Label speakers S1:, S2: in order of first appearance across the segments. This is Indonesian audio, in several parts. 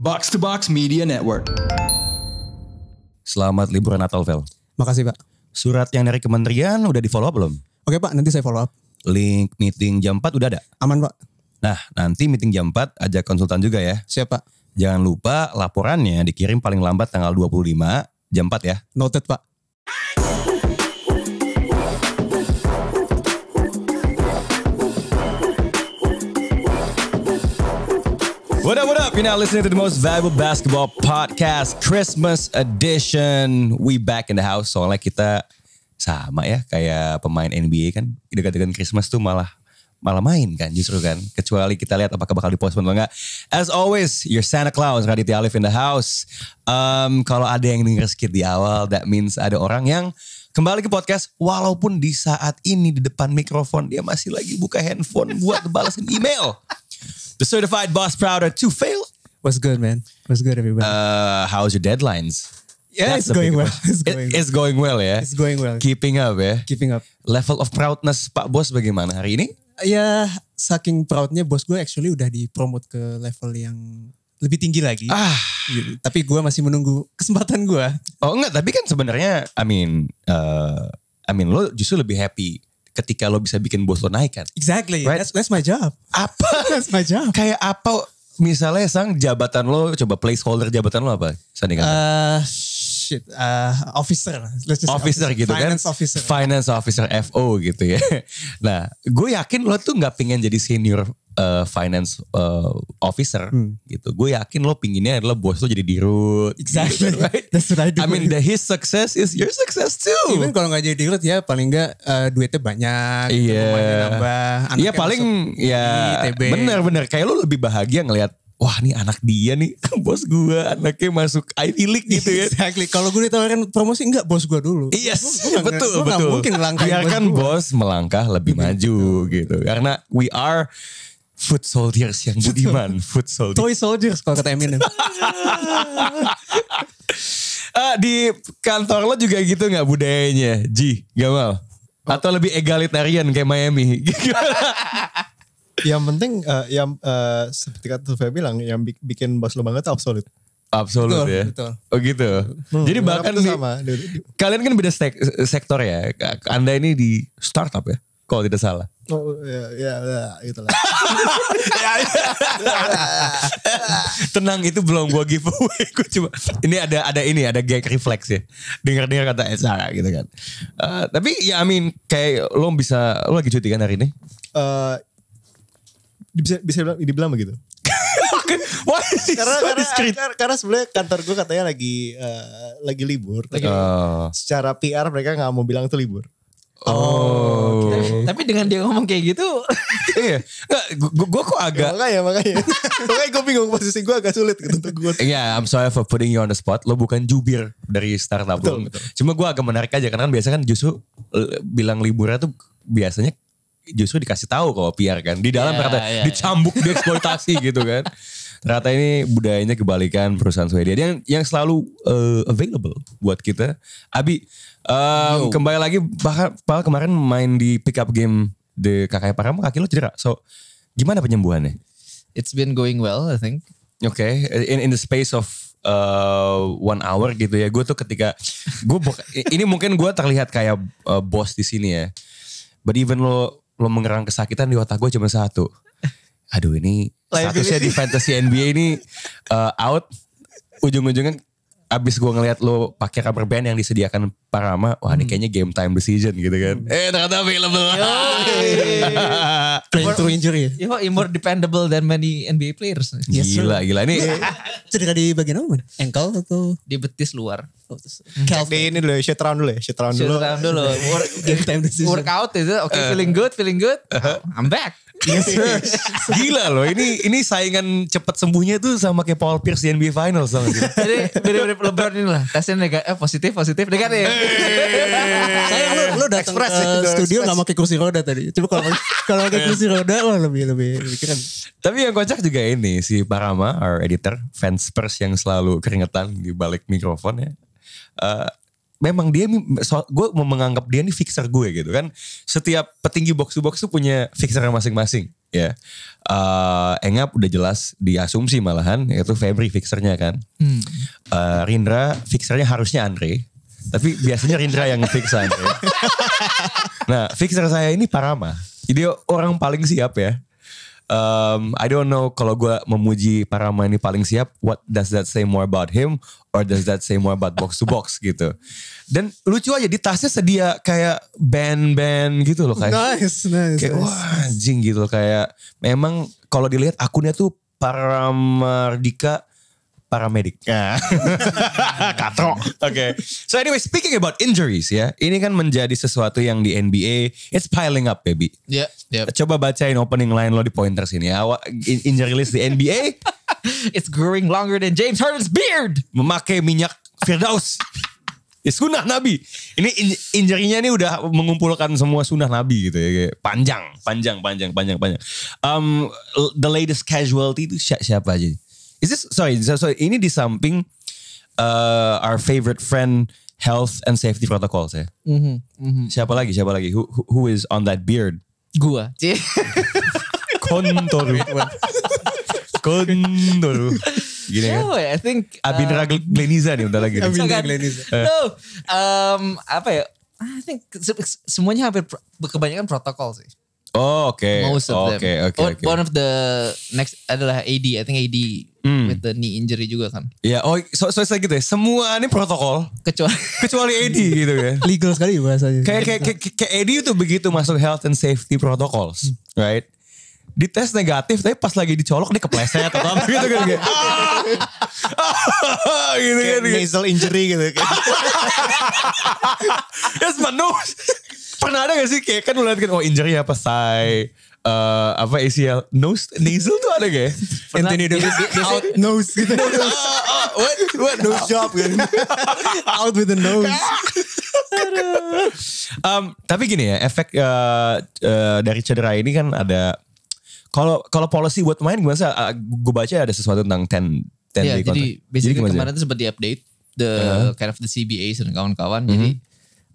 S1: Box to Box Media Network.
S2: Selamat liburan Natal, Vel.
S3: Makasih Pak.
S2: Surat yang dari kementerian udah di follow up belum?
S3: Oke Pak, nanti saya follow up.
S2: Link meeting jam 4 udah ada?
S3: Aman Pak.
S2: Nah, nanti meeting jam 4 ajak konsultan juga ya.
S3: Siap Pak.
S2: Jangan lupa laporannya dikirim paling lambat tanggal 25 jam 4 ya.
S3: Noted Pak.
S2: What up, what up? You're now listening to the most valuable basketball podcast, Christmas edition. We back in the house. Soalnya kita sama ya, kayak pemain NBA kan. Dekat-dekat Christmas tuh malah malah main kan justru kan. Kecuali kita lihat apakah bakal dipospon atau enggak. As always, your Santa Claus, Raditya Alif in the house. Um, kalau ada yang denger sedikit di awal, that means ada orang yang kembali ke podcast walaupun di saat ini di depan mikrofon dia masih lagi buka handphone buat balasin email. The certified boss prouder to fail.
S3: What's good man? What's good everybody?
S2: Uh, how's your deadlines?
S3: yeah,
S2: That's
S3: it's
S2: the
S3: going
S2: big
S3: well.
S2: question.
S3: It's
S2: It-
S3: going,
S2: it's going well ya.
S3: It's going well.
S2: Keeping up ya.
S3: keeping up.
S2: Level of proudness Pak Bos bagaimana hari ini?
S3: Ya, saking proudnya bos gue actually udah dipromot ke level yang lebih tinggi lagi.
S2: Ah,
S3: Gitu. Tapi gue masih menunggu kesempatan gue.
S2: oh enggak tapi kan sebenarnya I mean uh, I mean lo justru lebih happy ketika lo bisa bikin bos lo naik kan.
S3: Exactly.
S2: Right.
S3: That's, that's my job.
S2: Apa
S3: That's my job.
S2: kayak apa misalnya sang jabatan lo coba placeholder jabatan lo apa? Sandika.
S3: Uh, shit. Uh, officer. Let's just say
S2: officer gitu
S3: Finance
S2: kan.
S3: officer.
S2: Finance officer FO gitu ya. Nah, gue yakin lo tuh nggak pingin jadi senior uh, finance uh, officer
S3: Hmm.
S2: gitu. Gue yakin lo pinginnya adalah bos lo jadi dirut.
S3: Exactly.
S2: gitu kan, right?
S3: That's what I do.
S2: I mean, the his success is your success
S3: Even
S2: too.
S3: kalau nggak jadi dirut ya paling nggak eh, duitnya banyak, gitu,
S2: Iya.
S3: rumahnya nambah.
S2: Iya
S3: anaknya
S2: paling
S3: masuk
S2: ya
S3: UI, TB.
S2: benar-benar kayak lo lebih bahagia ngelihat wah nih anak dia nih bos gue anaknya masuk Ivy League gitu ya. Iya.
S3: Exactly. Kalau gue ditawarin promosi enggak bos gue dulu.
S2: Yes,
S3: Gua nggak-
S2: betul
S3: gua nggak
S2: betul.
S3: mungkin langkahin
S2: Biarkan
S3: bos gua. Iya.
S2: bos, melangkah lebih maju gitu. Karena we are foot soldiers yang budiman, foot soldiers.
S3: Toy soldiers kalau kata Eminem.
S2: Ah, di kantor lo juga gitu nggak budayanya, Ji
S3: Oh.
S2: Gamal? Atau lebih egalitarian kayak Miami?
S4: yang penting eh, yang eh, seperti kata Sofia bilang yang bi- bikin bos lo banget tuh absolut.
S2: Absolut
S3: Betul,
S2: ya.
S3: betul. Hmm,
S2: Oh gitu. Jadi
S4: Dimanapun
S2: bahkan
S4: tuh
S2: di-
S4: sama. Di- di-
S2: kalian kan beda stek- sektor ya. Anda ini di startup ya, kalau tidak salah.
S4: oh, ya, ya, ya, gitu lah.
S2: Tenang itu belum gua giveaway. Gua cuma ini ada ada ini ada gag reflex ya. Dengar dengar kata Sarah gitu kan. Eh, tapi ya I mean kayak lo bisa lo lagi cuti kan hari ini?
S4: Eh, bisa bisa dibilang, dibilang begitu.
S2: Why is it
S4: Karena
S2: so
S4: karena,
S2: discreet?
S4: karena, karena sebenarnya kantor gue katanya lagi eh, lagi libur. Lagi,
S2: Oh.
S4: Secara PR mereka nggak mau bilang itu libur.
S2: Oh.
S5: Tapi dengan dia ngomong kayak gitu,
S2: iya. Nggak, gua, gua kok agak
S4: Ya, makanya makanya. makanya gue bingung posisi gue agak sulit gitu. Untuk gue
S2: Ya, I'm sorry for putting you on the spot. Lo bukan jubir dari startup lo.
S4: Betul, betul.
S2: Cuma gue agak menarik aja karena kan biasanya kan justru eh, bilang liburan tuh biasanya justru dikasih tahu kalau PR kan. Di dalam
S4: Iya,
S5: Ya,
S2: ternyata
S5: ya,
S2: dicambuk, dieksploitasi gitu kan. Ternyata ini budayanya kebalikan perusahaan Swedia yang yang selalu eh, available buat kita. Abi em, kembali lagi bahkan Pal kemarin main di pick up game di kakak Paramo kaki lo cedera. So gimana penyembuhannya?
S5: it's been going well, I think.
S2: Oke, in in the space of uh, one hour gitu ya. Gue tuh ketika gue ini mungkin gue terlihat kayak uh, bos di sini ya. But even lo lo mengerang kesakitan di otak gue cuma satu. Aduh ini statusnya di fantasy NBA ini uh, out. Ujung-ujungnya abis gue ngeliat lo pakai rubber band yang disediakan Parama, wah
S3: Hmm.
S2: ini kayaknya game time decision gitu kan. Eh ternyata available.
S3: Play to injury.
S5: You are more dependable than many NBA players.
S3: Yes, sir. Iya.
S2: gila gila ini.
S3: Cedera di bagian apa? Man? Ankle atau?
S5: Di betis luar.
S3: oh, terus-
S4: cek di ini dulu, ya, shit round dulu ya, shit round dulu.
S5: Shut down dulu. Work,
S3: Game time decision.
S5: workout is it?
S2: Eh.
S5: Okay, feeling good, feeling good.
S2: Uh-huh.
S5: I'm back.
S2: Yes, sir. Gila loh, ini ini saingan cepat sembuhnya tuh sama kayak Paul Pierce di NBA Finals sama sih.
S5: Jadi mirip-mirip LeBron ini lah. Tesnya negatif, eh, positif, positif, negatif.
S3: Sayang lu, lu datang
S4: Express ya,
S3: ke
S4: udah
S3: studio nggak pakai kursi roda tadi. Coba kalau kalau pakai kursi roda wah lebih lebih lebih keren.
S2: Tapi yang kocak juga ini si Parama, our editor, fans Spurs yang selalu keringetan di balik mikrofon ya. Eh, memang dia gue mau menganggap dia nih fixer gue gitu kan setiap petinggi box to box tuh punya fixernya masing-masing ya Eh, Engap udah jelas diasumsi malahan yaitu Febri fixernya kan Eh, Rindra fixernya harusnya Andre tapi biasanya Rindra yang fix Andre nah fixer saya ini Parama jadi orang paling siap ya Um, I don't know kalau gue memuji Parama ini paling siap. What does that say more about him, or does that say more about box to box gitu? Dan lucu aja di tasnya sedia kayak band-band gitu loh kayak
S3: Nice, nice.
S2: kayak
S3: nice.
S2: wah anjing gitu kayak memang kalau dilihat akunnya tuh paramardika paramedik. Katro. Oke. So anyway speaking about injuries ya. Ini kan menjadi sesuatu yang di NBA it's piling up baby.
S5: Ya, ya.
S2: Coba bacain opening line lo di pointer sini ya. Awa- in- Injury list di NBA
S5: It's growing longer than James Harden's beard.
S2: memakai minyak Firdaus. Ya, sunnah Nabi. Ini in- injury-nya ini udah mengumpulkan semua sunnah Nabi gitu ya. Kayak Panjang, panjang, panjang, panjang, panjang. Um, l- the latest casualty itu si- siapa aja? Is this, sorry, so- sorry, ini di samping uh, our favorite friend health and safety protocols ya.
S5: Mm-hmm.
S2: Siapa lagi, siapa lagi? Who, who- who is on that beard?
S5: Gua. Cie.
S2: Kontoru. Kontoru. Gini kan.
S5: No, I think uh,
S2: Abindra Gleniza nih udah lagi. nih. Eh.
S5: Bukan.
S3: Glenn Hughes.
S5: No, um, apa ya? I think se- se- semuanya hampir pro- kebanyakan protokol sih.
S2: Oh oke.
S5: Most of
S2: Oke
S5: them.
S2: oke
S5: One-
S2: oke.
S5: One of the next adalah AD. I think AD
S2: Hmm.
S5: with the knee injury juga kan.
S2: Ya oh so so so gitu ya. Semua ini protokol
S5: Kecuali
S2: kecuali Edi gitu ya.
S3: Legal sekali bahasanya.
S2: Kayak kayak kayak, kayak Edi itu begitu masuk health and safety protocols, right? Dites negatif tapi pas lagi dicolok dia kepleset atau apa gitu kan kayak. Ah, gitu kan. gitu.
S4: nasal injury gitu.
S2: Yes, but no. Pernah ada gak sih kayak kan lu lihat kan oh injury apa say eh, apa ACL nose nasal tuh ada gak ya?
S3: Anthony Davis
S5: Iya.
S3: out nose gitu.
S4: Oh,
S2: Ah, ah, what what
S3: nose job
S4: kan?
S3: gitu. out with the nose.
S2: Um, tapi gini ya, efek uh, uh, dari cedera ini kan ada kalau kalau policy buat pemain gimana sih? Uh, gue baca ada sesuatu tentang 10 10
S5: ya,
S2: day contract.
S5: jadi
S2: gimana
S5: basically
S2: Uh-huh. sih?
S5: kemarin tuh sempat di-update the kind of the CBA dan
S2: Mm-hmm.
S5: kawan-kawan. Jadi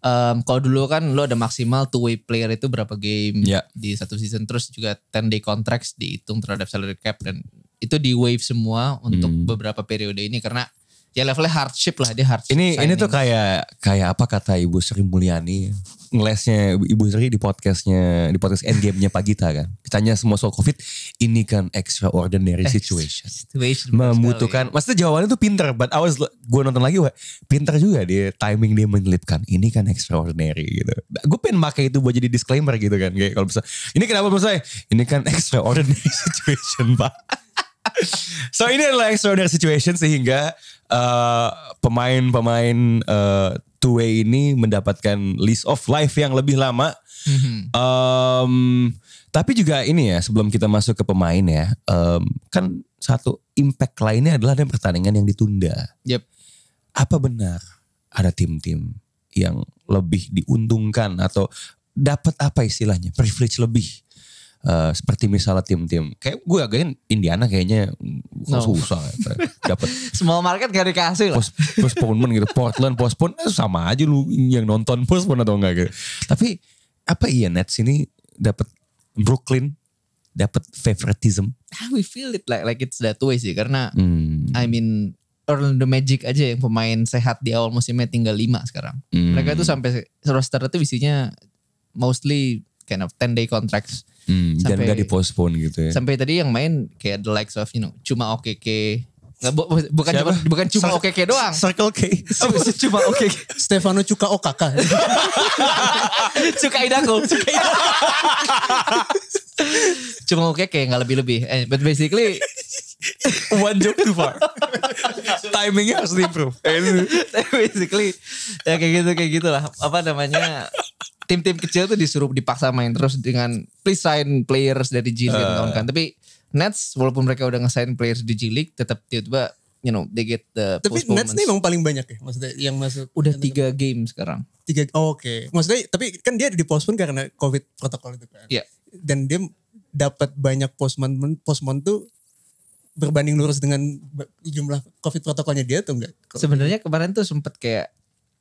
S5: um, kalau dulu kan lo ada maksimal two way player itu berapa game
S2: Ya.
S5: di satu season terus juga 10 day contracts dihitung terhadap salary cap dan itu di waive semua untuk
S2: Mm-hmm.
S5: beberapa periode ini karena ya levelnya hardship lah dia hardship.
S2: ini ini
S5: signing.
S2: tuh kayak kayak apa kata Ibu Sri Mulyani ngelesnya Ibu Sri di podcastnya di podcast Endgame-nya Pak Gita kan. Ditanya semua soal COVID, ini kan extraordinary
S5: Eh,
S2: situation.
S5: situation
S2: membutuhkan. Maksudnya jawabannya tuh pinter, but I was gue nonton lagi, wah, pinter juga dia timing dia menyelipkan. Ini kan extraordinary gitu. Gue pengen pakai itu buat jadi disclaimer gitu kan, kayak kalau bisa. Ini kenapa menurut saya? Ini kan extraordinary situation pak. so ini adalah extraordinary situation sehingga eh, pemain-pemain eh, two way ini mendapatkan list of life yang lebih lama. Em, tapi juga ini ya sebelum kita masuk ke pemain ya, em, kan satu impact lainnya adalah ada pertandingan yang ditunda.
S5: Yep.
S2: Apa benar ada tim-tim yang lebih diuntungkan atau dapat apa istilahnya privilege lebih? Eh, seperti misalnya tim-tim kayak gue again Indiana kayaknya mm,
S5: No.
S2: susah dapat
S5: small market gak dikasih lah.
S2: pos, postponement gitu. Portland postpone eh, sama aja lu yang nonton postpone atau enggak gitu. Tapi apa iya Nets ini dapat Brooklyn dapat favoritism.
S5: Ah, We feel it like like it's that way sih karena
S2: Hmm.
S5: I mean Orlando Magic aja yang pemain sehat di awal musimnya tinggal 5 sekarang.
S2: Hmm.
S5: Mereka tuh sampai roster itu isinya mostly kind of 10 day contracts.
S2: Hmm, dan
S5: Sampai-
S2: enggak dipospon gitu ya.
S5: Sampai tadi yang main kayak the likes of you know cuma OKK. Nggak, bu- bu- bukan
S2: Siapa?
S5: cuma bukan cuma
S2: Sar-
S5: OKK doang.
S2: Circle K.
S5: cuma OKK.
S3: Stefano Cuka Okaka.
S5: Suka idaku. Suka idaku. cuma OKK nggak lebih-lebih. Eh, but basically
S2: One joke too far. Timingnya harus diimprove.
S5: basically ya kayak gitu kayak gitulah apa namanya tim-tim kecil tuh disuruh dipaksa main terus dengan please sign players dari
S2: Eh.
S5: G League dan kawan-kawan. tapi Nets walaupun mereka udah nge-sign players di G League tetap tiba-tiba you know they get the
S3: tapi Nets
S5: postponements.
S3: nih emang paling banyak ya. Maksudnya yang masuk.
S5: udah tiga game sekarang
S3: tiga oh, oke maksudnya tapi kan dia dipospon karena covid protokol itu kan
S2: Ya.
S5: Iya.
S3: dan dia dapat banyak postman postpone tuh berbanding lurus dengan ba- jumlah covid protokolnya dia tuh enggak
S5: sebenarnya kemarin tuh sempet kayak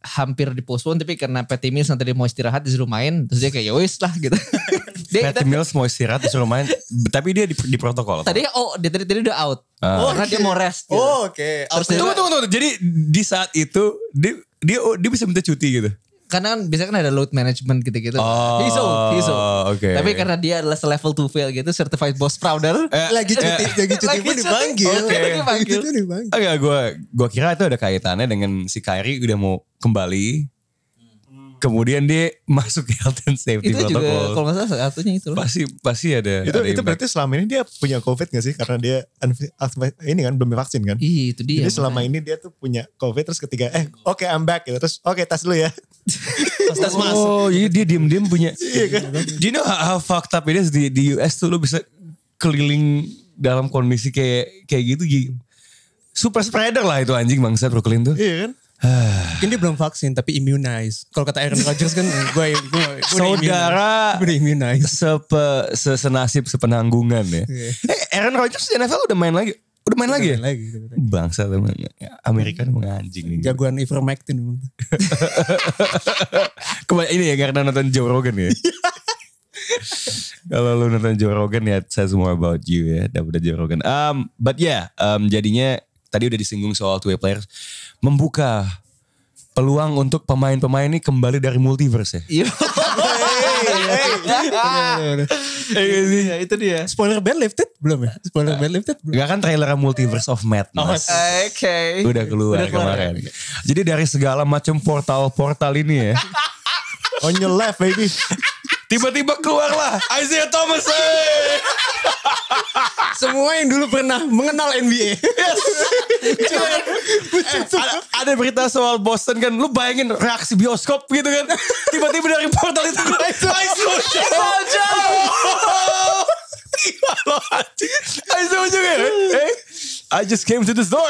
S5: hampir dipospon tapi karena Patty Mills nanti dia mau istirahat disuruh main terus dia kayak yowis lah gitu. dia,
S2: Patty Mills mau istirahat disuruh main, tapi dia di, di protokol.
S5: tadi oh dia tadi, tadi udah out
S2: Ah.
S5: karena
S3: iya.
S5: dia mau rest. Gitu.
S4: Oh, oke.
S5: Terus dia-
S2: tunggu, tunggu, tunggu. Jadi di saat itu dia dia oh, dia bisa minta cuti gitu.
S5: karena kan biasanya kan ada load management gitu-gitu.
S2: Oh,
S5: he's old, he's old.
S2: oke.
S5: Tapi karena dia adalah level to fail gitu, certified boss prouder.
S2: Eh,
S3: lagi cuti, lagi cuti
S5: Lagi
S3: pun
S5: cuti.
S3: dipanggil.
S5: Oke.
S3: Lagi cuti pun dipanggil.
S2: Oke, gue gua kira itu ada kaitannya dengan si Kyrie udah mau kembali. Kemudian dia masuk ke health and safety
S5: itu juga kalau
S2: protocol.
S5: nggak salah satunya itu loh.
S2: Pasti pasti ada
S4: Itu
S2: ada
S4: itu
S2: impact.
S4: berarti selama ini dia punya COVID gak sih? Karena dia unv- unv- ini kan belum divaksin kan?
S5: Ih, itu dia.
S3: Iya,
S4: Jadi selama ini dia tuh punya COVID terus ketiga eh oke I'm back gitu. Terus oke tas dulu ya. tas masuk.
S2: Oh,
S5: iya,
S2: jadi dia diem-diem punya. Iya kan? Do you know how, how fucked up it is di, di US tuh lu bisa keliling dalam kondisi kayak kayak gitu. gi- Super spreader lah itu anjing bangsa Brooklyn tuh.
S4: Iya kan?
S3: Mungkin dia belum vaksin tapi immunize. Kalau kata Aaron Rodgers kan gue gue
S2: Saudara
S3: udah immunize.
S2: sepe, sesenasib sepenanggungan ya.
S3: Iya.
S2: Eh, Aaron Rodgers di NFL udah main lagi. Udah main lagi ya?
S3: Lagi.
S2: Bangsa teman. Ya, Amerika emang anjing nih.
S3: Jagoan ivermectin. emang.
S2: Kembali ini ya karena nonton Joe Rogan ya. Kalau lu nonton Joe Rogan ya says more about you ya daripada Joe Rogan. Um, but yeah, um, jadinya tadi udah disinggung soal two way players membuka peluang untuk pemain-pemain ini kembali dari multiverse ya.
S5: Iya.
S2: Iya
S5: Iya, itu dia.
S3: Spoiler ban lifted belum ya? Spoiler
S4: Nah.
S3: ban lifted belum.
S2: Gak kan trailer Multiverse of Madness.
S5: Oke.
S2: udah keluar ya? kemarin. Jadi dari segala macam portal-portal ini ya,
S4: On your left baby.
S2: tiba-tiba keluarlah Isaiah Thomas. eh. hey!
S3: Semua yang dulu pernah mengenal
S2: Eh,
S3: NBA.
S2: ada, ada berita soal Boston kan, lu bayangin reaksi bioskop gitu kan, tiba-tiba dari portal itu Aizo Gila loh anjing. Aizo juga ya. Eh, I just came to this door.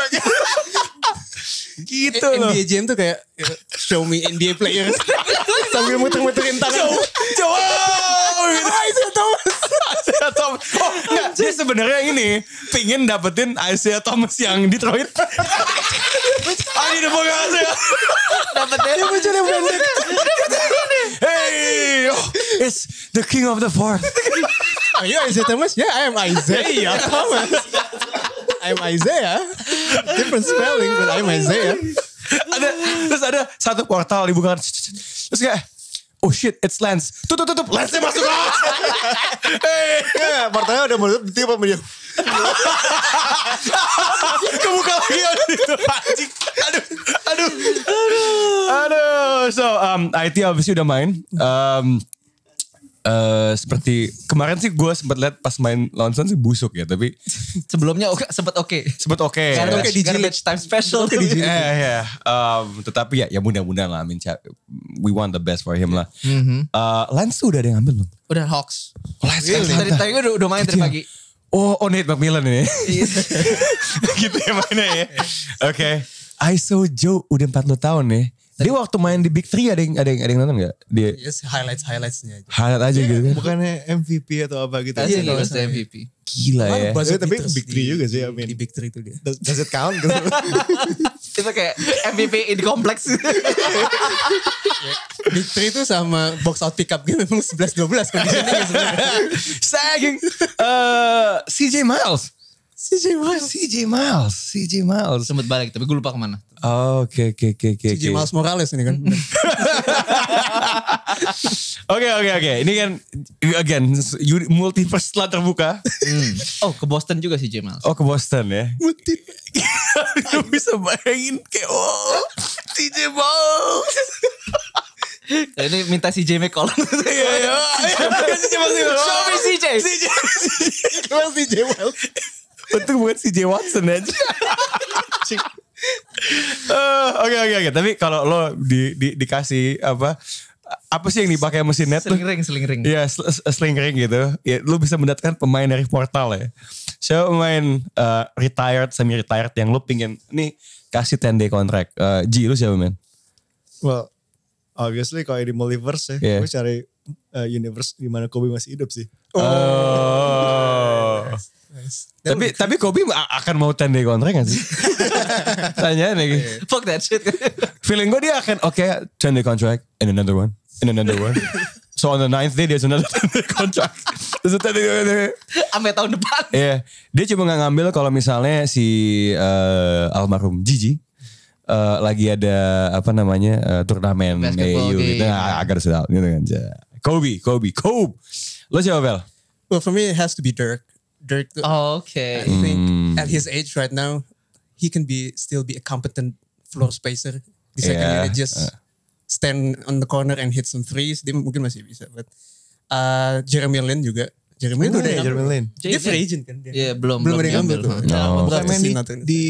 S2: gitu loh.
S3: NBA Jam tuh kayak eh, show me NBA players sambil muter-muterin tangan.
S2: Jawab
S3: Oh,
S2: gitu. Isaiah Thomas. Isaiah Thomas. Oh, enggak, dia sebenarnya ini pingin dapetin Isaiah Thomas yang Detroit. Ani the boga Isaiah.
S5: Dapatnya
S3: Munculnya pendek.
S2: Hey, oh, it's the king of the fourth.
S3: Are you Isaiah Thomas? Yeah, I am Isaiah Thomas. I'm Isaiah. Different spelling, but I'm Isaiah.
S2: ada terus ada satu portal dibuka. Terus kayak Oh shit, it's Lance. Tutup, tutup, Lance-nya masuk lah. hey,
S4: Ya, portalnya udah menutup tiba dia.
S2: kebuka lagi. Aduh, anjing. Aduh, aduh. Aduh, so um, IT obviously udah main. Um, eh, seperti kemarin sih gue sempat lihat pas main lawan Suns sih busuk ya, tapi
S5: sebelumnya oke, sempat oke.
S2: sempat oke.
S5: Karena
S3: oke di jilid.
S5: garbage time special.
S2: Eh ya, um, tetapi ya, ya mudah-mudahan lah. I mean, Cha- we want the best for him lah.
S3: Mm-hmm.
S2: Eh, Lance tuh udah ada yang ambil belum? Iya,
S5: Udah hoax.
S3: Oh,
S2: Lance
S3: kan
S5: Tadi
S2: Alexander.
S5: tadi gue udah, udah main tadi
S2: Iya.
S5: pagi.
S2: Oh, oh Nate McMillan ini.
S5: Iya.
S2: gitu ya mainnya ya. Oke. ISO Joe udah 40 tahun ya. Dia waktu main di Big Three ada yang ada yang, ada yang nonton gak? Dia
S3: Yes, highlights highlightsnya aja. Iya.
S2: highlight aja gitu kan.
S4: Bukannya MVP atau apa gitu.
S5: Tadi
S4: Iya,
S5: lolos MVP.
S2: Gila ya.
S3: Buzzer
S4: Tapi
S3: beaters
S4: big three
S3: di-
S4: juga sih, I mean.
S3: Di big three itu dia.
S4: Does, does it count? Gitu.
S5: Itu kayak MVP in kompleks.
S3: Big three itu sama box out pick up game memang 11-12 kondisinya sebenarnya.
S2: Sagging. Eh, CJ Miles.
S3: CJ Miles.
S2: CJ Miles. CJ Miles.
S5: Sempet balik tapi gue lupa kemana.
S2: Oke, oke, oke, oke.
S3: CJ
S2: oke.
S3: Miles Morales ini kan.
S2: Oke, oke, oke. Ini kan again uni- multiverse telah terbuka.
S5: Oh ke Boston juga sih Jamal.
S2: Oh ke Boston ya. Lu bisa bayangin kayak oh CJ Miles.
S5: Ya, Ini minta si Jamie Collins.
S2: Iya, iya. CJ Miles.
S5: Show me CJ.
S3: Miles CJ Miles.
S2: Untung bukan CJ Watson aja. Eh, Oke oke oke. Tapi kalau lo di, di- dikasih apa apa sih yang dipakai mesin net tuh?
S5: Seling ring, seling ring.
S2: Ya sl- sl- sling ring gitu. Ya, lo bisa mendatangkan pemain dari portal ya. So pemain eh, retired semi retired yang lo pingin nih kasih 10 day contract. Eh, Ji lo siapa men?
S4: well, obviously kalau di multiverse ya,
S2: Yeah.
S4: gue cari uh, universe di mana Kobe masih hidup sih.
S2: Oh. Tapi tapi Kobe a- akan mau 10 day kontrak gak sih? Tanya nih.
S5: Fuck that shit.
S2: Feeling gue dia akan oke 10 day contract and another one and another one. So on the ninth day there's another 10 day contract. There's a 10 day contract.
S5: Sampai tahun depan.
S2: Iya, dia cuma nggak ngambil kalau misalnya si eh, almarhum Gigi eh, lagi ada apa namanya eh, turnamen
S5: Basketball
S2: AU
S5: game.
S2: gitu nah, agar sudah gitu kan. Ja. Kobe, Kobe, Kobe. Lo siapa Bel?
S6: Well, for me, it has to be Dirk. Dirk, I
S5: Oke.
S6: think
S2: Hmm.
S6: at his age right now, he can be still be a competent floor spacer. Di second
S2: Yeah.
S6: unit, just
S2: Uh.
S6: stand on the corner and hit some threes. Dia mungkin masih bisa. But uh, Jeremy Lin juga. Jeremy Lin udah
S3: Udah ya,
S6: ngambil.
S3: Jeremy Lin.
S6: Dia free agent kan? Dia.
S5: Iya, belum,
S6: Belum ada yang
S5: diambil.
S6: ngambil
S3: Oh.
S6: tuh.
S5: Nah,
S2: No.
S3: Bukan main di,
S6: Not in-
S3: di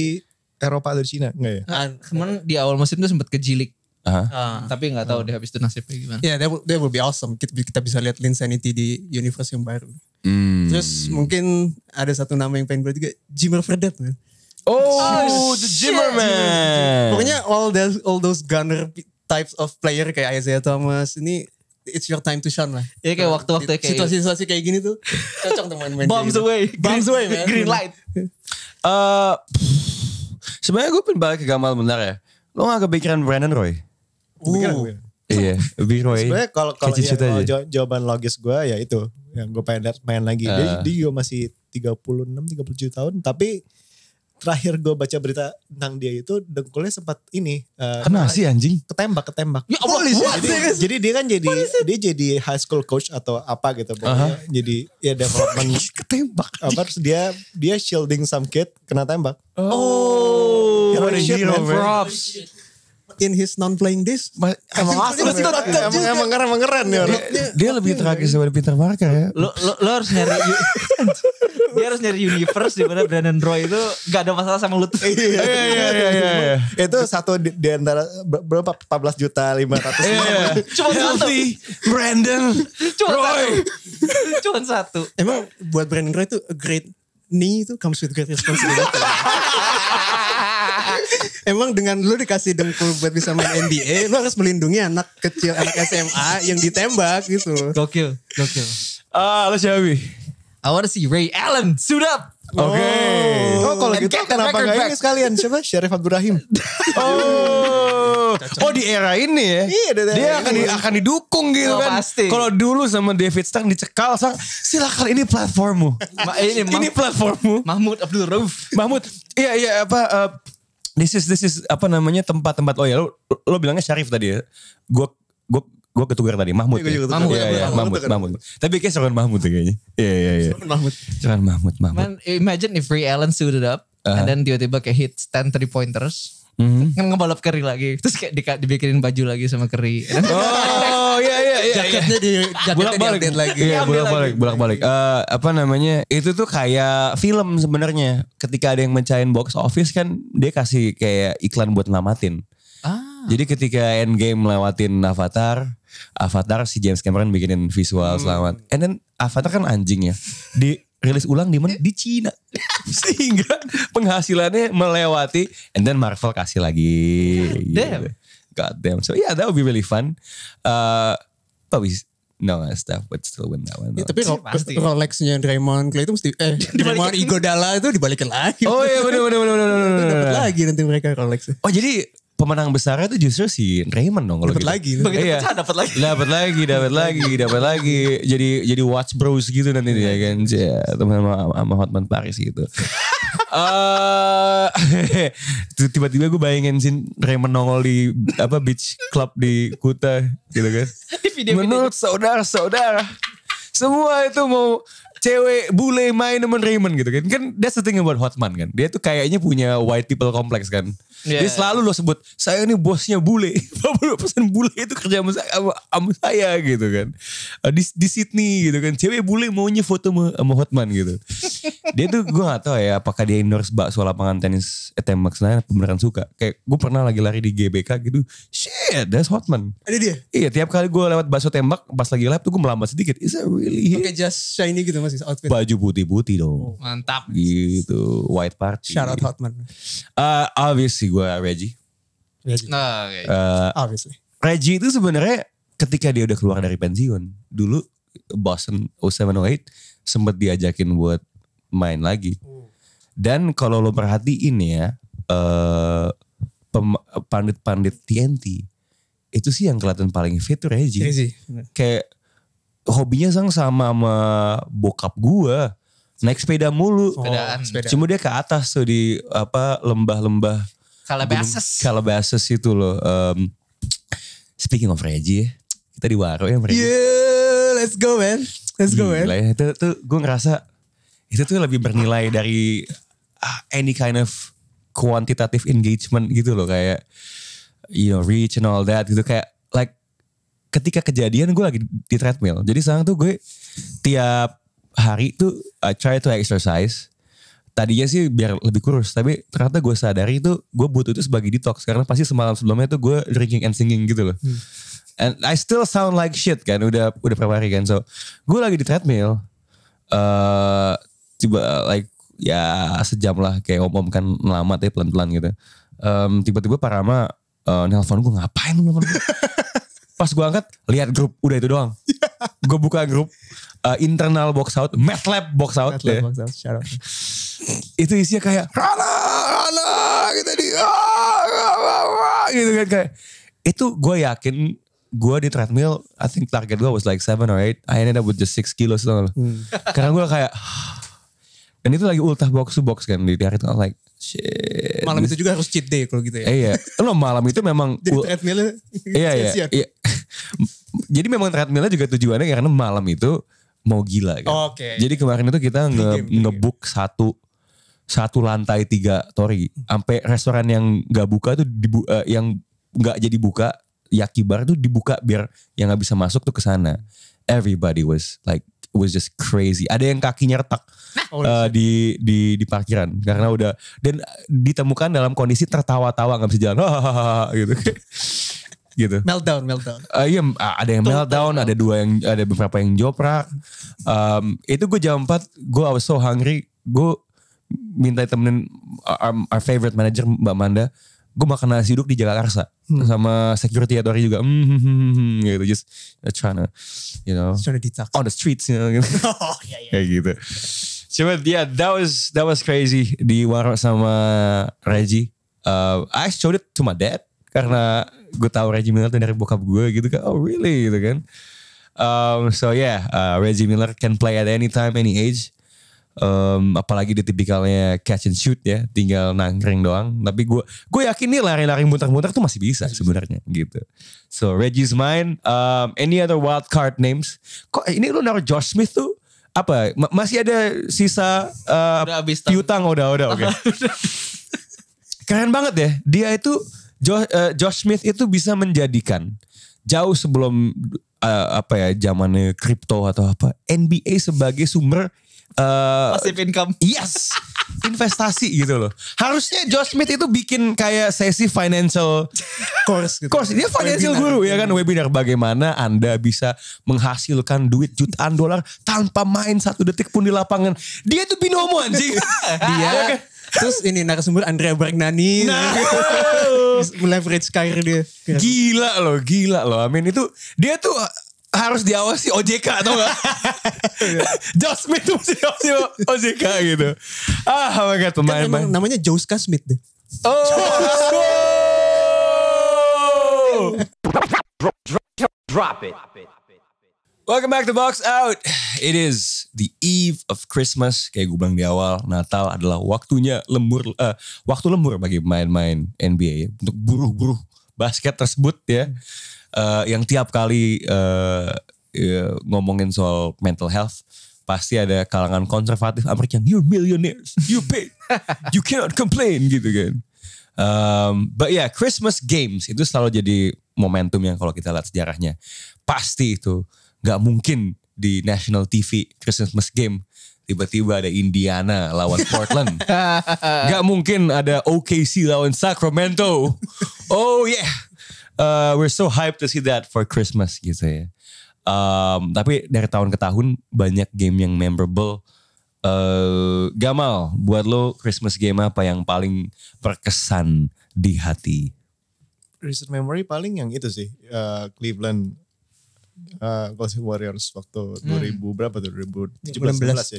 S3: Eropa atau di Cina enggak ya?
S5: ah, Kemarin di awal musim tuh sempat ke Jilik.
S2: Aha.
S6: Ah.
S5: Tapi nggak tahu deh habis itu nasibnya gimana.
S6: Yeah, that ya, will, that will be awesome. Kita, kita bisa lihat Lin Sanity di universe yang baru.
S3: Hmm.
S6: Terus mungkin ada satu nama yang pengen gue juga, Jimmer Fredette
S3: Eh.
S6: man.
S2: Oh,
S5: Ah,
S2: the Zimmerman.
S6: Pokoknya all those all those gunner types of player kayak Isaiah Thomas ini it's your time to shine lah.
S5: Ya, kayak waktu-waktu kayak-
S6: situasi-situasi Iya, kayak gini tuh cocok tuh main-main. kayak
S5: Bombs
S6: gitu.
S5: away.
S6: Bombs away, man.
S5: Green light.
S2: Eh, sebenarnya gue pengen balik ke Gamal benar ya. Lo gak kepikiran Brandon Roy?
S3: Pikiran
S6: Uh,
S3: gue.
S2: Iya, B Roy.
S3: Sebenarnya kalau kalau
S2: Kecil aja.
S3: ya,
S6: oh,
S3: kalau jaw- jawaban logis gue ya itu yang gue pengen lihat main lagi.
S2: Ah.
S3: Dia, dia juga masih 36 37 tahun tapi terakhir gue baca berita tentang dia itu dengkulnya sempat ini
S6: uh,
S3: eh,
S2: Kena sih anjing.
S3: ketembak ketembak.
S5: Ya Allah, what?
S3: jadi, jadi dia kan jadi dia jadi high school coach atau apa gitu pokoknya. Jadi ya development
S2: Ketembak.
S3: apa terus dia dia shielding some kid kena tembak.
S2: Oh,
S3: Hero
S5: iya,
S3: shit, man.
S2: Props.
S6: in his non-playing days. Iya,
S2: Ma- Emang asli.
S6: Terus
S2: man.
S6: tetap
S3: Emang
S6: juga.
S3: emang keren emang keren nih orang.
S2: Dia, Iya. dia lebih tragis daripada Peter Parker ya.
S5: Lo, lo, lo harus nyari u- dia harus nyari universe di mana Brandon Roy itu gak ada masalah sama lutut.
S3: Iya
S2: iya, iya, iya, iya.
S3: Itu satu di, di antara ber- berapa 14 juta 500
S5: Iya,
S6: iya.
S5: Cuma satu.
S2: Brandon,
S5: Cuma satu. Cuma satu.
S6: Emang buat Brandon Roy itu a great knee itu comes with great responsibility. Emang dengan lu dikasih dengkul buat bisa main NBA, lu harus melindungi anak kecil, anak SMA yang ditembak gitu.
S5: Gokil, gokil.
S2: Ah, lo siapa? Bi?
S5: I wanna see Ray Allen suit up.
S2: Oke.
S3: Oh, kalau
S5: And
S3: gitu
S5: get the
S3: kenapa
S5: record
S3: nggak
S5: back.
S3: ini sekalian siapa Syarif Abdul Rahim?
S2: Oh. Oh di era ini ya.
S3: Iya, di era
S2: dia
S3: ini.
S2: akan di- akan didukung gitu
S5: Oh,
S2: kan.
S5: pasti.
S2: Kalau dulu sama David Stang dicekal, Sang, silakan ini platformmu.
S5: Ma- ini Mah-
S2: ini platformmu.
S5: Mahmud Abdul Rauf.
S2: Mahmud, iya iya apa uh, this is this is apa namanya tempat-tempat oh ya lo lo bilangnya Syarif tadi ya. Gua gua gua ketukar tadi Mahmud.
S3: Iya, gua juga ketukar.
S2: Mahmud, iya, iya,
S3: Mahmud,
S2: Mahmud,
S3: ketukar.
S2: Mahmud. Tapi kayak serangan Mahmud ya kayaknya. Iya iya iya.
S6: Mahmud.
S2: Serangan Mahmud, Mahmud.
S5: Man, imagine if Ray Allen suited up and then tiba-tiba kayak hit 10 three pointers.
S2: Mhm.
S5: Kan ngebalap Curry lagi. Terus kayak dika- dibikinin baju lagi sama Curry. And then-
S2: Oh iya iya iya.
S6: Jaketnya di jaketnya
S2: bolak balik
S6: diupdate lagi.
S2: Iya, bolak balik, bolak balik. Eh apa namanya? Itu tuh kayak film sebenarnya. Ketika ada yang mencain box office kan dia kasih kayak iklan buat ngelamatin.
S5: Ah.
S2: Jadi ketika Endgame melewatin Avatar, Avatar si James Cameron bikinin visual
S6: Hmm.
S2: selamat. And then Avatar kan anjing ya. Di rilis ulang di mana? Di Cina. Sehingga penghasilannya melewati and then Marvel kasih lagi.
S5: damn.
S2: Gitu. God damn. So yeah, that would be really fun. Uh, but we no stuff, but still win that one.
S6: Ya, tapi Ro-
S5: Pasti.
S6: Rolexnya Draymond Clay itu mesti eh Draymond Igodala itu dibalikin lagi.
S2: oh iya bener bener bener bener bener, bener,
S6: Dapat
S2: bener.
S6: lagi nanti mereka Rolex.
S2: Oh jadi pemenang besarnya tuh justru si Raymond dong kalau
S6: Dapat
S2: gitu.
S6: lagi.
S5: Begitu
S2: Iya.
S5: pecah dapat lagi.
S2: Dapat lagi, dapat lagi, dapat lagi. Jadi jadi watch bros gitu nanti dia kan. Ya, teman sama, sama Hotman Paris gitu. Eh tiba-tiba gue bayangin sin Raymond nongol di apa beach club di Kuta gitu kan. Menurut saudara-saudara semua itu mau cewek bule main sama Raymond gitu kan. Kan that's the thing about Hotman kan. Dia tuh kayaknya punya white people complex kan.
S5: Iya.
S2: Dia selalu lo sebut, saya ini bosnya bule. 50% bule itu kerja sama saya, sama- sama saya gitu kan. Eh, Di, di Sydney gitu kan. Cewek bule maunya foto sama, sama Hotman gitu. dia tuh gue gak tau ya apakah dia endorse bakso lapangan tenis eh, tembak senayan apa beneran suka. Kayak gue pernah lagi lari di GBK gitu. Shit, that's Hotman.
S6: Ada dia.
S2: Iya tiap kali gue lewat bakso tembak pas lagi lap tuh gue melambat sedikit. Is that really him?
S6: Pakai jas shiny gitu masih outfit.
S2: Baju putih-putih dong.
S5: Mantap.
S2: Gitu. White party.
S6: Oh. Shout out Hotman.
S2: Eh, obviously gue Reggie.
S5: Nah, oke.
S2: Eh,
S6: Obviously.
S2: Reggie itu sebenarnya ketika dia udah oh keluar dari pensiun. Dulu Boston 0708 sempat diajakin buat main lagi. Dan kalau lo perhatiin ya, eh pem- pandit-pandit TNT itu sih yang kelihatan paling fit tuh Regi.
S6: Iya
S3: Regi,
S2: Kayak hobinya sang sama sama bokap gua naik sepeda mulu.
S5: Sepedaan. Sepeda.
S2: Cuma dia ke atas tuh di apa lembah-lembah
S5: Calabasas.
S2: Calabasas itu loh. Em, speaking of Regi ya, kita di Waro ya Regi.
S3: Yeah, let's go man. Let's go man.
S2: Gila ya, itu tuh gue ngerasa itu tuh lebih bernilai dari ah, any kind of quantitative engagement gitu loh kayak you know reach and all that gitu kayak like ketika kejadian gue lagi di treadmill jadi sekarang tuh gue tiap hari tuh I try to exercise tadinya sih biar lebih kurus tapi ternyata gue sadari itu gue butuh itu sebagai detox karena pasti semalam sebelumnya tuh gue drinking and singing gitu loh and I still sound like shit kan udah udah berapa hari kan so gue lagi di treadmill eh tiba like ya sejam lah kayak om om kan lama tapi pelan pelan gitu Em, tiba-tiba Parama eh, nelpon gue ngapain lu nelpon gue pas gue angkat lihat grup udah itu doang gue buka grup eh, internal box out math lab box out ya. itu isinya kayak Rana Rana kita di ah, ah, ah, ah," gitu kan kayak itu gue yakin gue di treadmill I think target gue was like 7 or 8 I ended up with just 6 kilos tau gak lo.
S3: Hmm.
S2: karena gue kayak dan itu lagi ultah box to box kan di di hari itu I was like shit
S3: Malam itu juga harus cheat day kalau gitu ya.
S2: Eh, iya lo malam itu memang
S3: Jadi
S2: ul-
S3: treadmill
S2: iya iya,
S3: sia-sia.
S2: iya. jadi memang treadmillnya juga tujuannya karena malam itu mau gila kan
S3: Oh,
S6: Iya,
S3: Oke.
S2: jadi kemarin itu kita nge
S3: Pre-game, pre-game.
S2: ngebook satu satu lantai tiga tori sampai restoran yang nggak buka tuh dibu- eh, yang nggak jadi buka yakibar tuh dibuka biar yang nggak bisa masuk tuh ke sana everybody was like was just crazy ada yang kakinya retak eh, di di di parkiran karena udah dan ditemukan dalam kondisi tertawa-tawa nggak bisa jalan gitu gitu
S3: Meltdown, meltdown.
S2: Eh, iya, ada yang meltdown, ada dua yang ada beberapa yang joprak. Um, itu gue jam 4, gue I was so hungry, gue minta temenin our, our favorite manager Mbak Manda, gue makan nasi uduk di Jakarta sama security authority juga, mm, hmm, hmm, hmm, gitu, just trying to, you know,
S3: Trying to detox.
S2: on the streets, you know, gitu. kayak gitu. Cuma yeah, that was that was crazy di Waro sama Reggie. Uh, I showed it to my dad karena gue tahu Reggie Miller tuh dari bokap gue gitu kan. Oh really gitu kan. Um, so yeah, uh, Reggie Miller can play at any time, any age. Um, apalagi dia tipikalnya catch and shoot ya, tinggal nangkring doang. Tapi gue gue yakin nih lari-lari muter-muter tuh masih bisa sebenarnya gitu. So Reggie's mine. Um, any other wild card names? Kok ini lu naruh Josh Smith tuh apa? Ma- masih ada sisa uh,
S5: Udah habis, Tam.
S2: piutang udah udah oke. Keren banget ya. Dia itu Josh, eh, Josh Smith itu bisa menjadikan jauh sebelum eh, apa ya zamannya kripto atau apa NBA sebagai sumber eh,
S5: Passive income.
S2: yes investasi gitu loh. Harusnya Josh Smith itu bikin kayak sesi financial
S3: Course gitu.
S2: course. Dia financial
S3: Webinar.
S2: guru ya kan webinar bagaimana Anda bisa menghasilkan duit jutaan dolar tanpa main satu detik pun di lapangan. Dia tuh binomo anjing.
S6: Iya.
S3: Dia. Iya. Terus ini narasumber Andrea Bargnani.
S2: Nah.
S3: Leverage karir dia.
S2: Gila loh, gila loh. Amin itu dia tuh harus diawasi OJK atau enggak? Josh Smith tuh mesti diawasi OJK gitu. Ah, oh my god,
S3: Kan
S2: pemain-pemain.
S3: emang namanya Jouska Smith deh.
S2: Oh. Welcome back to Box Out. It is the eve of Christmas. Kayak gue bilang di awal, Natal adalah waktunya lemur, eh, waktu lemur bagi pemain-pemain NBA ya, untuk buruh-buruh basket tersebut ya, Eh, yang tiap kali eh, eh, ngomongin soal mental health, pasti ada kalangan konservatif Amerika yang you millionaires, you pay, you cannot complain gitu kan. Um, but yeah, Christmas games itu selalu jadi momentum yang kalau kita lihat sejarahnya pasti itu nggak mungkin di national TV Christmas game tiba-tiba ada Indiana lawan Portland, nggak mungkin ada OKC lawan Sacramento. Oh yeah, Uh, we're so hyped to see that for Christmas gitu ya. Um, tapi dari tahun ke tahun banyak game yang memorable eh Gamal, buat lo Christmas game apa yang paling berkesan di hati?
S4: recent memory paling yang itu sih eh, Cleveland
S3: eh, Golden Warriors waktu
S5: Hmm.
S3: 2000 berapa tuh 2017 ya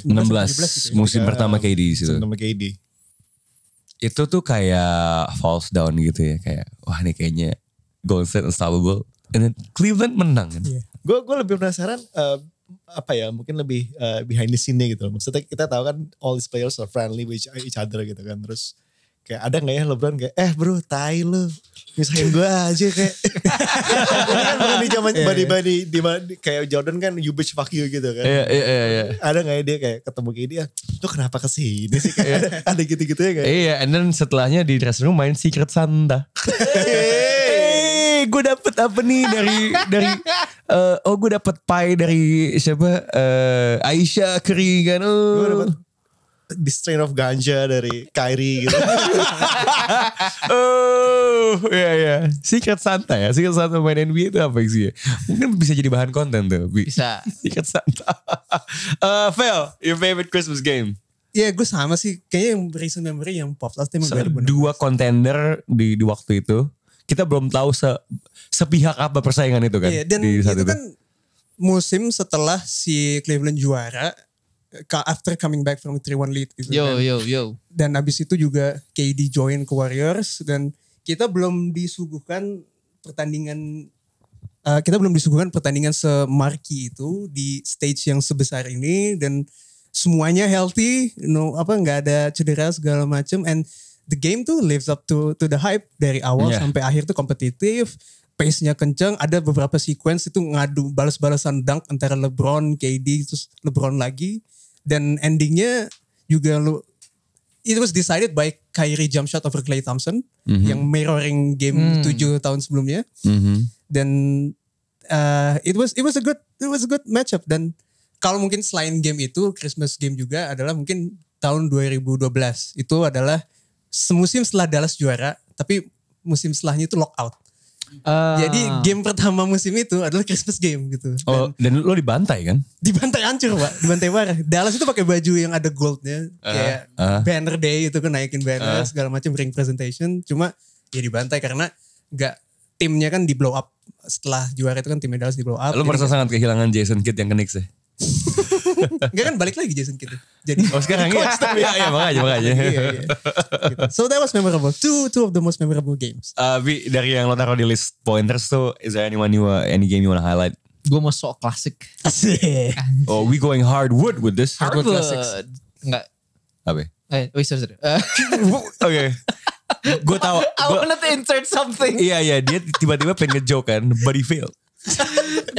S2: 16
S3: Iya.
S2: musim pertama KD di situ.
S3: sama KD
S2: Itu tuh kayak false down gitu ya kayak wah ini kayaknya Golden State unstoppable. And then Cleveland menang kan.
S4: Iya.
S3: gue gue lebih penasaran eh, apa ya mungkin lebih eh, behind the scene gitu loh. maksudnya kita tahu kan all these players are friendly with each- each other gitu kan terus kayak ada nggak ya LeBron kayak eh bro tai lu misalkan gue aja kayak Ini kan bukan di zaman body body di di- kayak Jordan kan you bitch fuck you gitu kan
S2: Iya iya iya. iya.
S3: ada nggak ya dia kayak ketemu kayak dia lu kenapa kesini sih kayak ada, ada gitu-gitu ya kayak
S2: Iya, and then setelahnya di dressing room main Secret Santa. hey, gue dapet apa nih dari dari eh, oh gue dapet pie dari siapa eh, Aisyah Keringan.
S3: gue
S2: Oh,
S3: dapat the strain of ganja dari Kyrie gitu
S2: oh, iya iya. Secret Santa ya, Secret Santa main NBA itu apa sih? ya? Mungkin bisa jadi bahan konten tuh. Bi.
S5: Bisa.
S2: Secret Santa. Eh, Fel, your favorite Christmas game?
S6: Iya gue sama sih. Kayaknya yang recent memory yang pop last time yang 2006.
S2: dua contender di di waktu itu kita belum tahu se, sepihak apa persaingan itu kan
S6: Iya, dan
S2: di
S6: itu
S2: saat
S6: kan musim setelah si Cleveland juara ka- after coming back from 3-1 lead gitu kan.
S5: Yo yo yo.
S6: Dan abis itu juga KD join ke Warriors dan kita belum disuguhkan pertandingan eh, kita belum disuguhkan pertandingan semarki itu di stage yang sebesar ini dan semuanya healthy, no apa nggak ada cedera segala macam and the game tuh lives up to to the hype dari awal
S2: Yeah.
S6: sampai akhir tuh kompetitif, pace-nya kenceng, ada beberapa sequence itu ngadu balas-balasan dunk antara LeBron, KD terus LeBron lagi dan endingnya juga lu it was decided by Kyrie jump shot over Clay Thompson yang mirroring game 7 tahun sebelumnya dan uh, it was it was a good it was a good matchup dan kalau mungkin selain game itu Christmas game juga adalah mungkin tahun 2012 itu adalah semusim setelah Dallas juara tapi musim setelahnya itu lockout jadi game pertama musim itu adalah Christmas game gitu
S2: itu oh, dan lo dibantai kan
S6: dibantai hancur pak dibantai parah Dallas itu pakai baju yang ada goldnya kayak
S2: ah.
S6: banner day itu kan naikin
S2: Uh-huh.
S6: banner segala macam ring presentation cuma ya dibantai karena nggak timnya kan di blow up setelah juara itu kan timnya Dallas di blow up
S2: lo merasa sangat kehilangan Jason Kidd yang ke Knicks ya
S6: nggak kan balik lagi Jason gitu jadi
S2: oh sekarang ya ya ya makanya makanya
S6: gitu. so that was memorable two two of the most memorable games
S2: Eh, Bi, dari yang lo taruh di list pointers tuh is there anyone you uh, any game you wanna highlight
S5: Gue mau sok klasik.
S6: asik
S2: oh we going hardwood with this
S5: Hardwood Enggak.
S2: apa
S5: Eh, wait, sorry, sorry. Eh,
S2: oke gue tahu
S5: I
S2: gua-
S5: wanted to insert something.
S2: iya iya dia tiba-tiba pengen ngejoke kan but he failed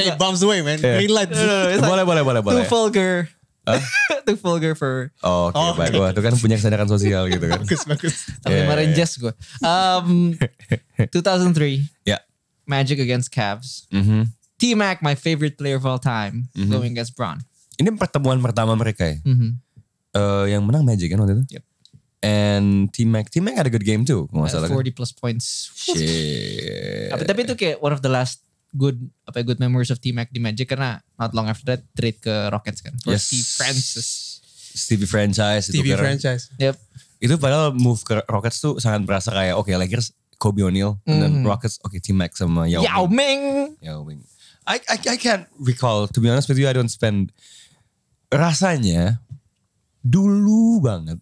S6: hey bombs away man
S2: Yeah.
S6: green light
S5: No, no, no, it's
S2: boleh boleh boleh boleh
S5: Oh, Too vulgar. Too vulgar for
S2: Oh, Oke, baik. Wah, itu kan punya kesadaran sosial gitu kan.
S3: bagus bagus
S5: Sampai
S2: Yeah,
S5: kemarin
S2: yeah,
S5: jazz gue. Um, 2003
S2: Ya.
S5: Magic against Cavs.
S2: Mhm.
S5: T Mac, my favorite player of all time,
S2: Mm-hmm.
S5: going against Braun.
S2: Ini pertemuan pertama mereka ya.
S5: Mhm.
S2: Eh, yang menang Magic kan waktu itu.
S5: Yep.
S2: And T-Mac, T-Mac had a good game too. Kalau nggak salah
S5: At
S2: kan.
S5: 40 plus points.
S2: Shit.
S5: Tapi, tapi itu kayak one of the last good apa ya, good memories of T Mac di Magic karena not long after that trade ke Rockets kan. For
S2: Yes.
S5: Steve Francis.
S2: Stevie franchise itu
S6: TV
S2: karena-
S6: franchise
S5: Yep.
S2: Itu padahal move ke Rockets tuh sangat berasa kayak oke Lakers Kobe O'Neal and then Rockets oke T-Mac sama Yao
S5: Yao
S2: Ming.
S5: Ming.
S2: Yao Ming. I, I I can't recall to be honest with you I don't spend rasanya dulu banget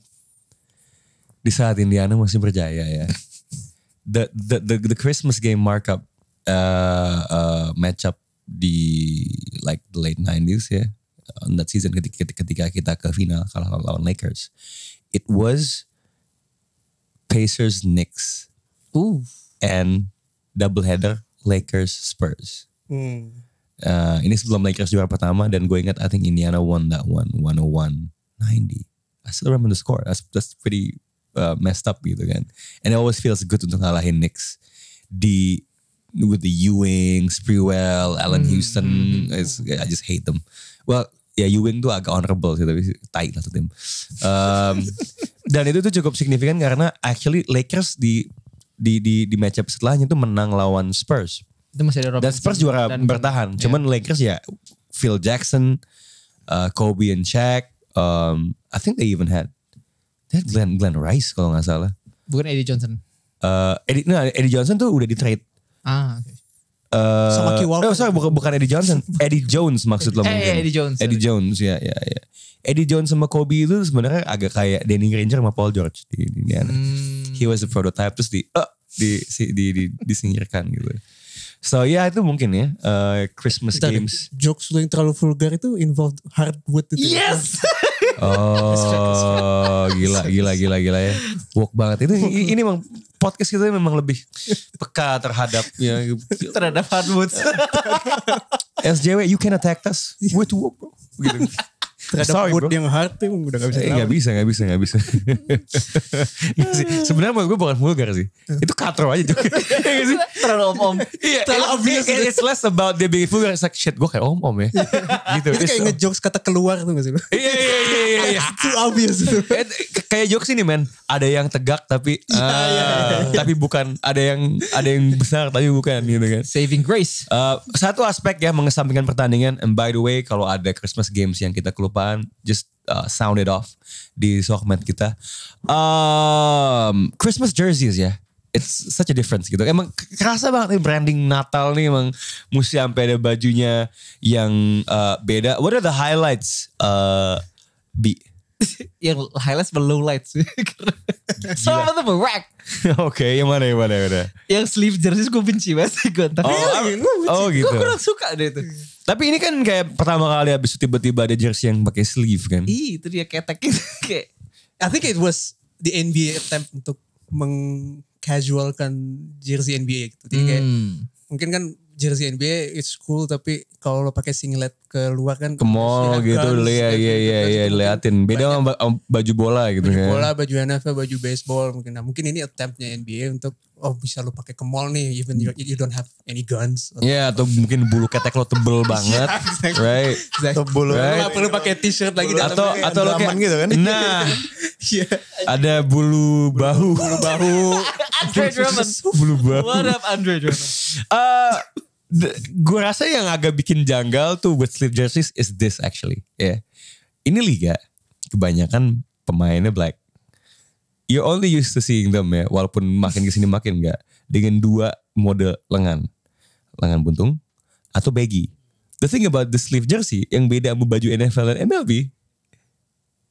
S2: di saat Indiana masih berjaya ya. The the the, the Christmas game markup uh, uh, matchup di like the late 90s ya. On that season ketika, ketika kita ke final kalah lawan Lakers. It was Pacers Knicks
S5: Ooh.
S2: and doubleheader Lakers Spurs.
S6: Hmm.
S2: Uh, ini sebelum Lakers juara pertama dan gue ingat I think Indiana won that one 101 90. I still remember the score. That's that's pretty uh, messed up gitu kan. And it always feels good untuk ngalahin Knicks di with the Ewing, Sprewell, Allen Houston. It's- I just hate them. Well, ya Ewing tuh agak honorable sih tapi tai lah tuh tim. Um, dan itu tuh cukup signifikan karena actually Lakers di di di di matchup setelahnya tuh menang lawan Spurs.
S5: Itu masih ada
S2: Dan
S5: Robinson
S2: Spurs juara
S5: dan- iya.
S2: bertahan. Cuman Lakers ya Phil Jackson, uh, Kobe and Shaq. Um, I think they even had they had Glenn Glenn Rice kalau nggak salah.
S5: Bukan Eddie Johnson.
S2: Uh, Eddie, nah, Eddie Johnson tuh udah di trade
S5: Ah, oke.
S2: eh,
S6: Sama Key Walker.
S2: eh, sorry, bukan, bukan Eddie Johnson. Eddie Jones maksud lo
S5: Eh,
S2: mungkin.
S5: iya, Eddie Jones.
S2: Eddie Jones, ya, ya, ya. Eddie Jones sama Kobe itu sebenarnya agak kayak Danny Granger sama Paul George di di Indiana.
S5: Hmm.
S2: He was a prototype terus di eh, di, si- di, di disingkirkan gitu. So ya itu mungkin ya eh, Christmas
S6: Bentar deh.
S2: games.
S6: Jokes lu yang terlalu vulgar itu involved hardwood itu.
S5: Yes.
S2: Oh, gila, gila, gila, gila ya. Woke banget. Itu i- ini memang podcast kita memang lebih peka terhadap ya.
S5: Terhadap hardwood.
S2: SJW, you can attack us with woke, bro. Gitu.
S6: Terhadap
S2: Sorry,
S6: wood
S2: bro.
S6: yang hard tuh udah gak bisa.
S2: Eh, gak bisa, gak bisa, gak bisa. Nggak sih. Sebenarnya menurut gue bukan vulgar sih. Itu katro aja juga. Iya nggak sih?
S5: Terlalu om-om.
S2: Iya, it- it- it's less about dia being vulgar. It's like, shit, gue kayak om-om ya. gitu.
S6: Itu
S2: It's-
S6: kayak ngejokes kata keluar tuh gak sih? lu?
S2: Iya, iya, iya, iya, iya.
S6: Too obvious itu.
S2: Eh, k- kayak jokes ini men ada yang tegak tapi
S5: Iya,
S2: ah, tapi bukan ada yang ada yang besar tapi bukan gitu kan
S5: Saving grace.
S2: Eh, satu aspek ya mengesampingkan pertandingan and by the way kalau ada Christmas games yang kita kelupaan just uh, sound it off di sosmed kita um, Christmas jerseys ya it's such a difference gitu emang k- kerasa banget nih branding Natal nih emang mesti sampai ada bajunya yang uh, beda what are the highlights uh, Bi
S5: yang highlights sama lowlights. Sama tuh berak.
S2: Oke, yang mana yang mana yang mana?
S5: Yang sleeve jerseys gue benci banget iya, sih gue entah.
S2: Oh, oh, gitu.
S5: Gue kurang suka deh itu.
S2: Tapi ini kan kayak pertama kali habis itu tiba-tiba ada jersey yang pakai sleeve kan.
S6: Iya.
S5: Ih itu dia ketek gitu. Kayak
S6: I think it was the NBA attempt untuk mengcasualkan jersey NBA gitu. Jadi
S2: Hmm.
S6: kayak mungkin kan jersey NBA it's cool tapi kalau lo pakai singlet keluar kan
S2: Ke mall
S6: harus
S2: gitu
S6: ada
S2: dulu
S6: guns,
S2: ya,
S6: gitu.
S2: iya iya
S6: Guns
S2: iya
S6: itu mungkin
S2: liatin. Beda sama ba- sama baju bola gitu
S6: baju
S2: kan.
S6: bola, baju NFL, baju baseball mungkin. Nah, mungkin ini attemptnya NBA untuk oh bisa lo pakai ke mall nih even you, you don't have any guns.
S2: Ya atau mungkin bulu ketek lo
S6: Iya,
S2: tebel banget, right?
S4: Tebul.
S2: Right.
S6: Nggak perlu pakai t-shirt lagi di
S2: Atau
S6: dalamnya.
S2: atau lo
S4: Andaman
S2: kayak
S4: gitu kan.
S2: Nah,
S6: Iya.
S2: ada bulu bahu, bulu bahu,
S5: Andre Drummond.
S2: bulu bahu.
S5: What up Andre Drummond.
S2: Eh, d- gue rasa yang agak bikin janggal tuh with sleep jerseys is this actually. Ya. Ini liga kebanyakan pemainnya black. You're only used to seeing them ya, walaupun makin kesini makin enggak dengan dua mode lengan. Lengan buntung atau baggy. The thing about the sleeve jersey yang beda sama baju NFL dan MLB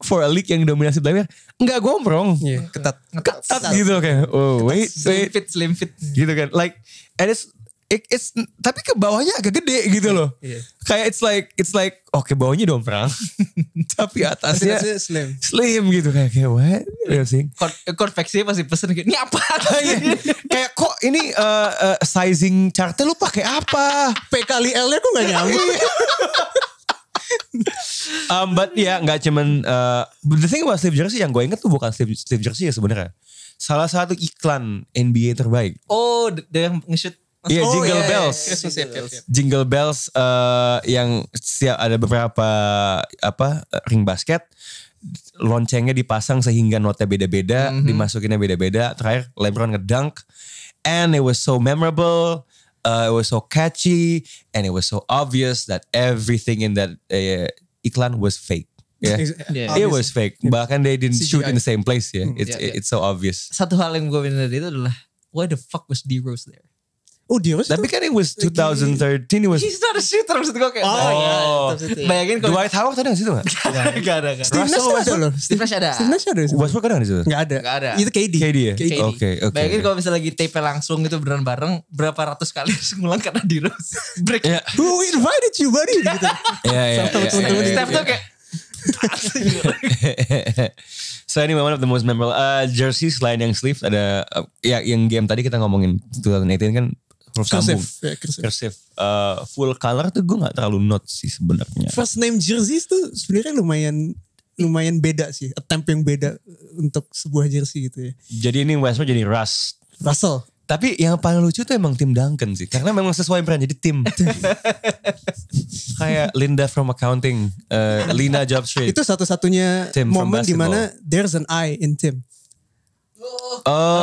S2: for a league yang dominasi black enggak gombrong.
S6: Iya, ketat.
S2: Ketat gitu kayak, oh wait, wait,
S5: Slim fit, slim fit.
S2: gitu kan like and it's it- it's tapi ke bawahnya agak gede gitu loh
S6: Iya.
S2: kayak it's like it's like oke bawahnya domprang tapi atasnya
S6: Ketatnya slim.
S2: slim gitu kayak kayak what You're saying?
S5: Kon- Konveksinya pasti eh, pesen gitu. Ini apa?
S2: kayak kok ini eh, eh, sizing chartnya lu pakai apa Iya.
S6: P kali L-nya kok gak nyambung.
S2: um, but ya nggak cuman uh, but the thing about sleeve jersey yang gue inget tuh bukan sleeve, sleeve jersey ya sebenarnya salah satu iklan NBA terbaik
S5: Oh, d- dia yang nge-shoot.
S2: Iya,
S5: Oh,
S2: Jingle
S5: iya,
S2: Bells. Ya.
S5: iya, iya, iya, iya.
S2: Jingle Bells eh, yang siap ada beberapa apa ring basket loncengnya dipasang sehingga notnya beda-beda,
S5: Mhm.
S2: dimasukinnya beda-beda. Terakhir LeBron ngedunk and it was so memorable. uh, it was so catchy and it was so obvious that everything in that eh, iklan was fake.
S6: Iya,
S5: Iya,
S2: Yeah.
S5: Yeah.
S2: It was fake. Bahkan they didn't shoot in the same place ya. It's
S5: Mm-hmm. yeah, yeah.
S2: it's so obvious.
S5: Satu hal yang gue bener itu adalah, why the fuck was D Rose there?
S6: Oh, dia harus
S2: Tapi kan it was 2013 it was
S5: He's not a shooter maksud gue kayak.
S6: Oh,
S5: iya.
S2: Oh.
S5: Bayangin kalau
S2: Dwight Howard ada gak sih tuh gak?
S5: gak ada gak.
S6: Steve
S2: Russell
S6: Nash tuh ada
S2: Westbrook-
S6: loh.
S5: Steve Nash ada.
S6: Steve Nash ada. sih.
S2: Westbrook ada gak di situ?
S6: ya? Nggak ada.
S5: Nggak ada.
S6: Itu KD.
S2: KD ya?
S5: KD.
S2: Oke, oke.
S5: Bayangin kalau misalnya lagi tape langsung gitu beneran bareng berapa ratus kali harus ngulang karena di Rose break.
S2: Ya,
S6: Who invited you buddy? gitu.
S2: ya, ya.
S5: Step Steph tuh kayak
S2: So anyway, one of the most memorable uh, jersey selain yang sleeve ada uh, ya yang game tadi kita ngomongin 2018 kan huruf sambung.
S6: Ya, cursive.
S2: Cursive. Uh, full color tuh gue gak terlalu note sih sebenarnya.
S6: First name jerseys tuh sebenarnya lumayan lumayan beda sih. Attempt yang beda untuk sebuah jersey gitu ya.
S2: Jadi ini Westbrook jadi Russ.
S6: Russell.
S2: Tapi yang paling lucu tuh emang tim Duncan sih. Karena memang sesuai peran jadi tim. Kayak Linda from Accounting. uh, Lina Job Street.
S6: Itu satu-satunya
S2: Tim from
S6: momen di mana there's an I in Tim.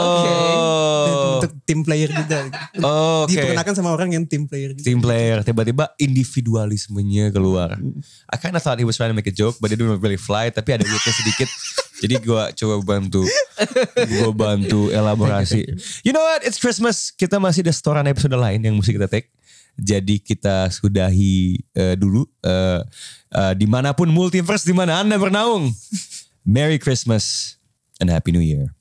S2: Oh.
S6: Untuk tim player juga.
S2: Oh, oke.
S6: Diperkenakan sama orang yang tim player juga.
S2: Team player tiba-tiba individualismenya keluar. I kinda thought he was trying to make a joke, but it didn't really fly. Tapi ada witness sedikit Jadi gua coba bantu gua bantu elaborasi. You know what? It's Christmas. Kita masih ada setoran episode lain yang mesti kita take. Jadi kita sudahi eh, dulu eh eh, dimanapun multiverse dimana anda bernaung. Merry Christmas and Happy New Year.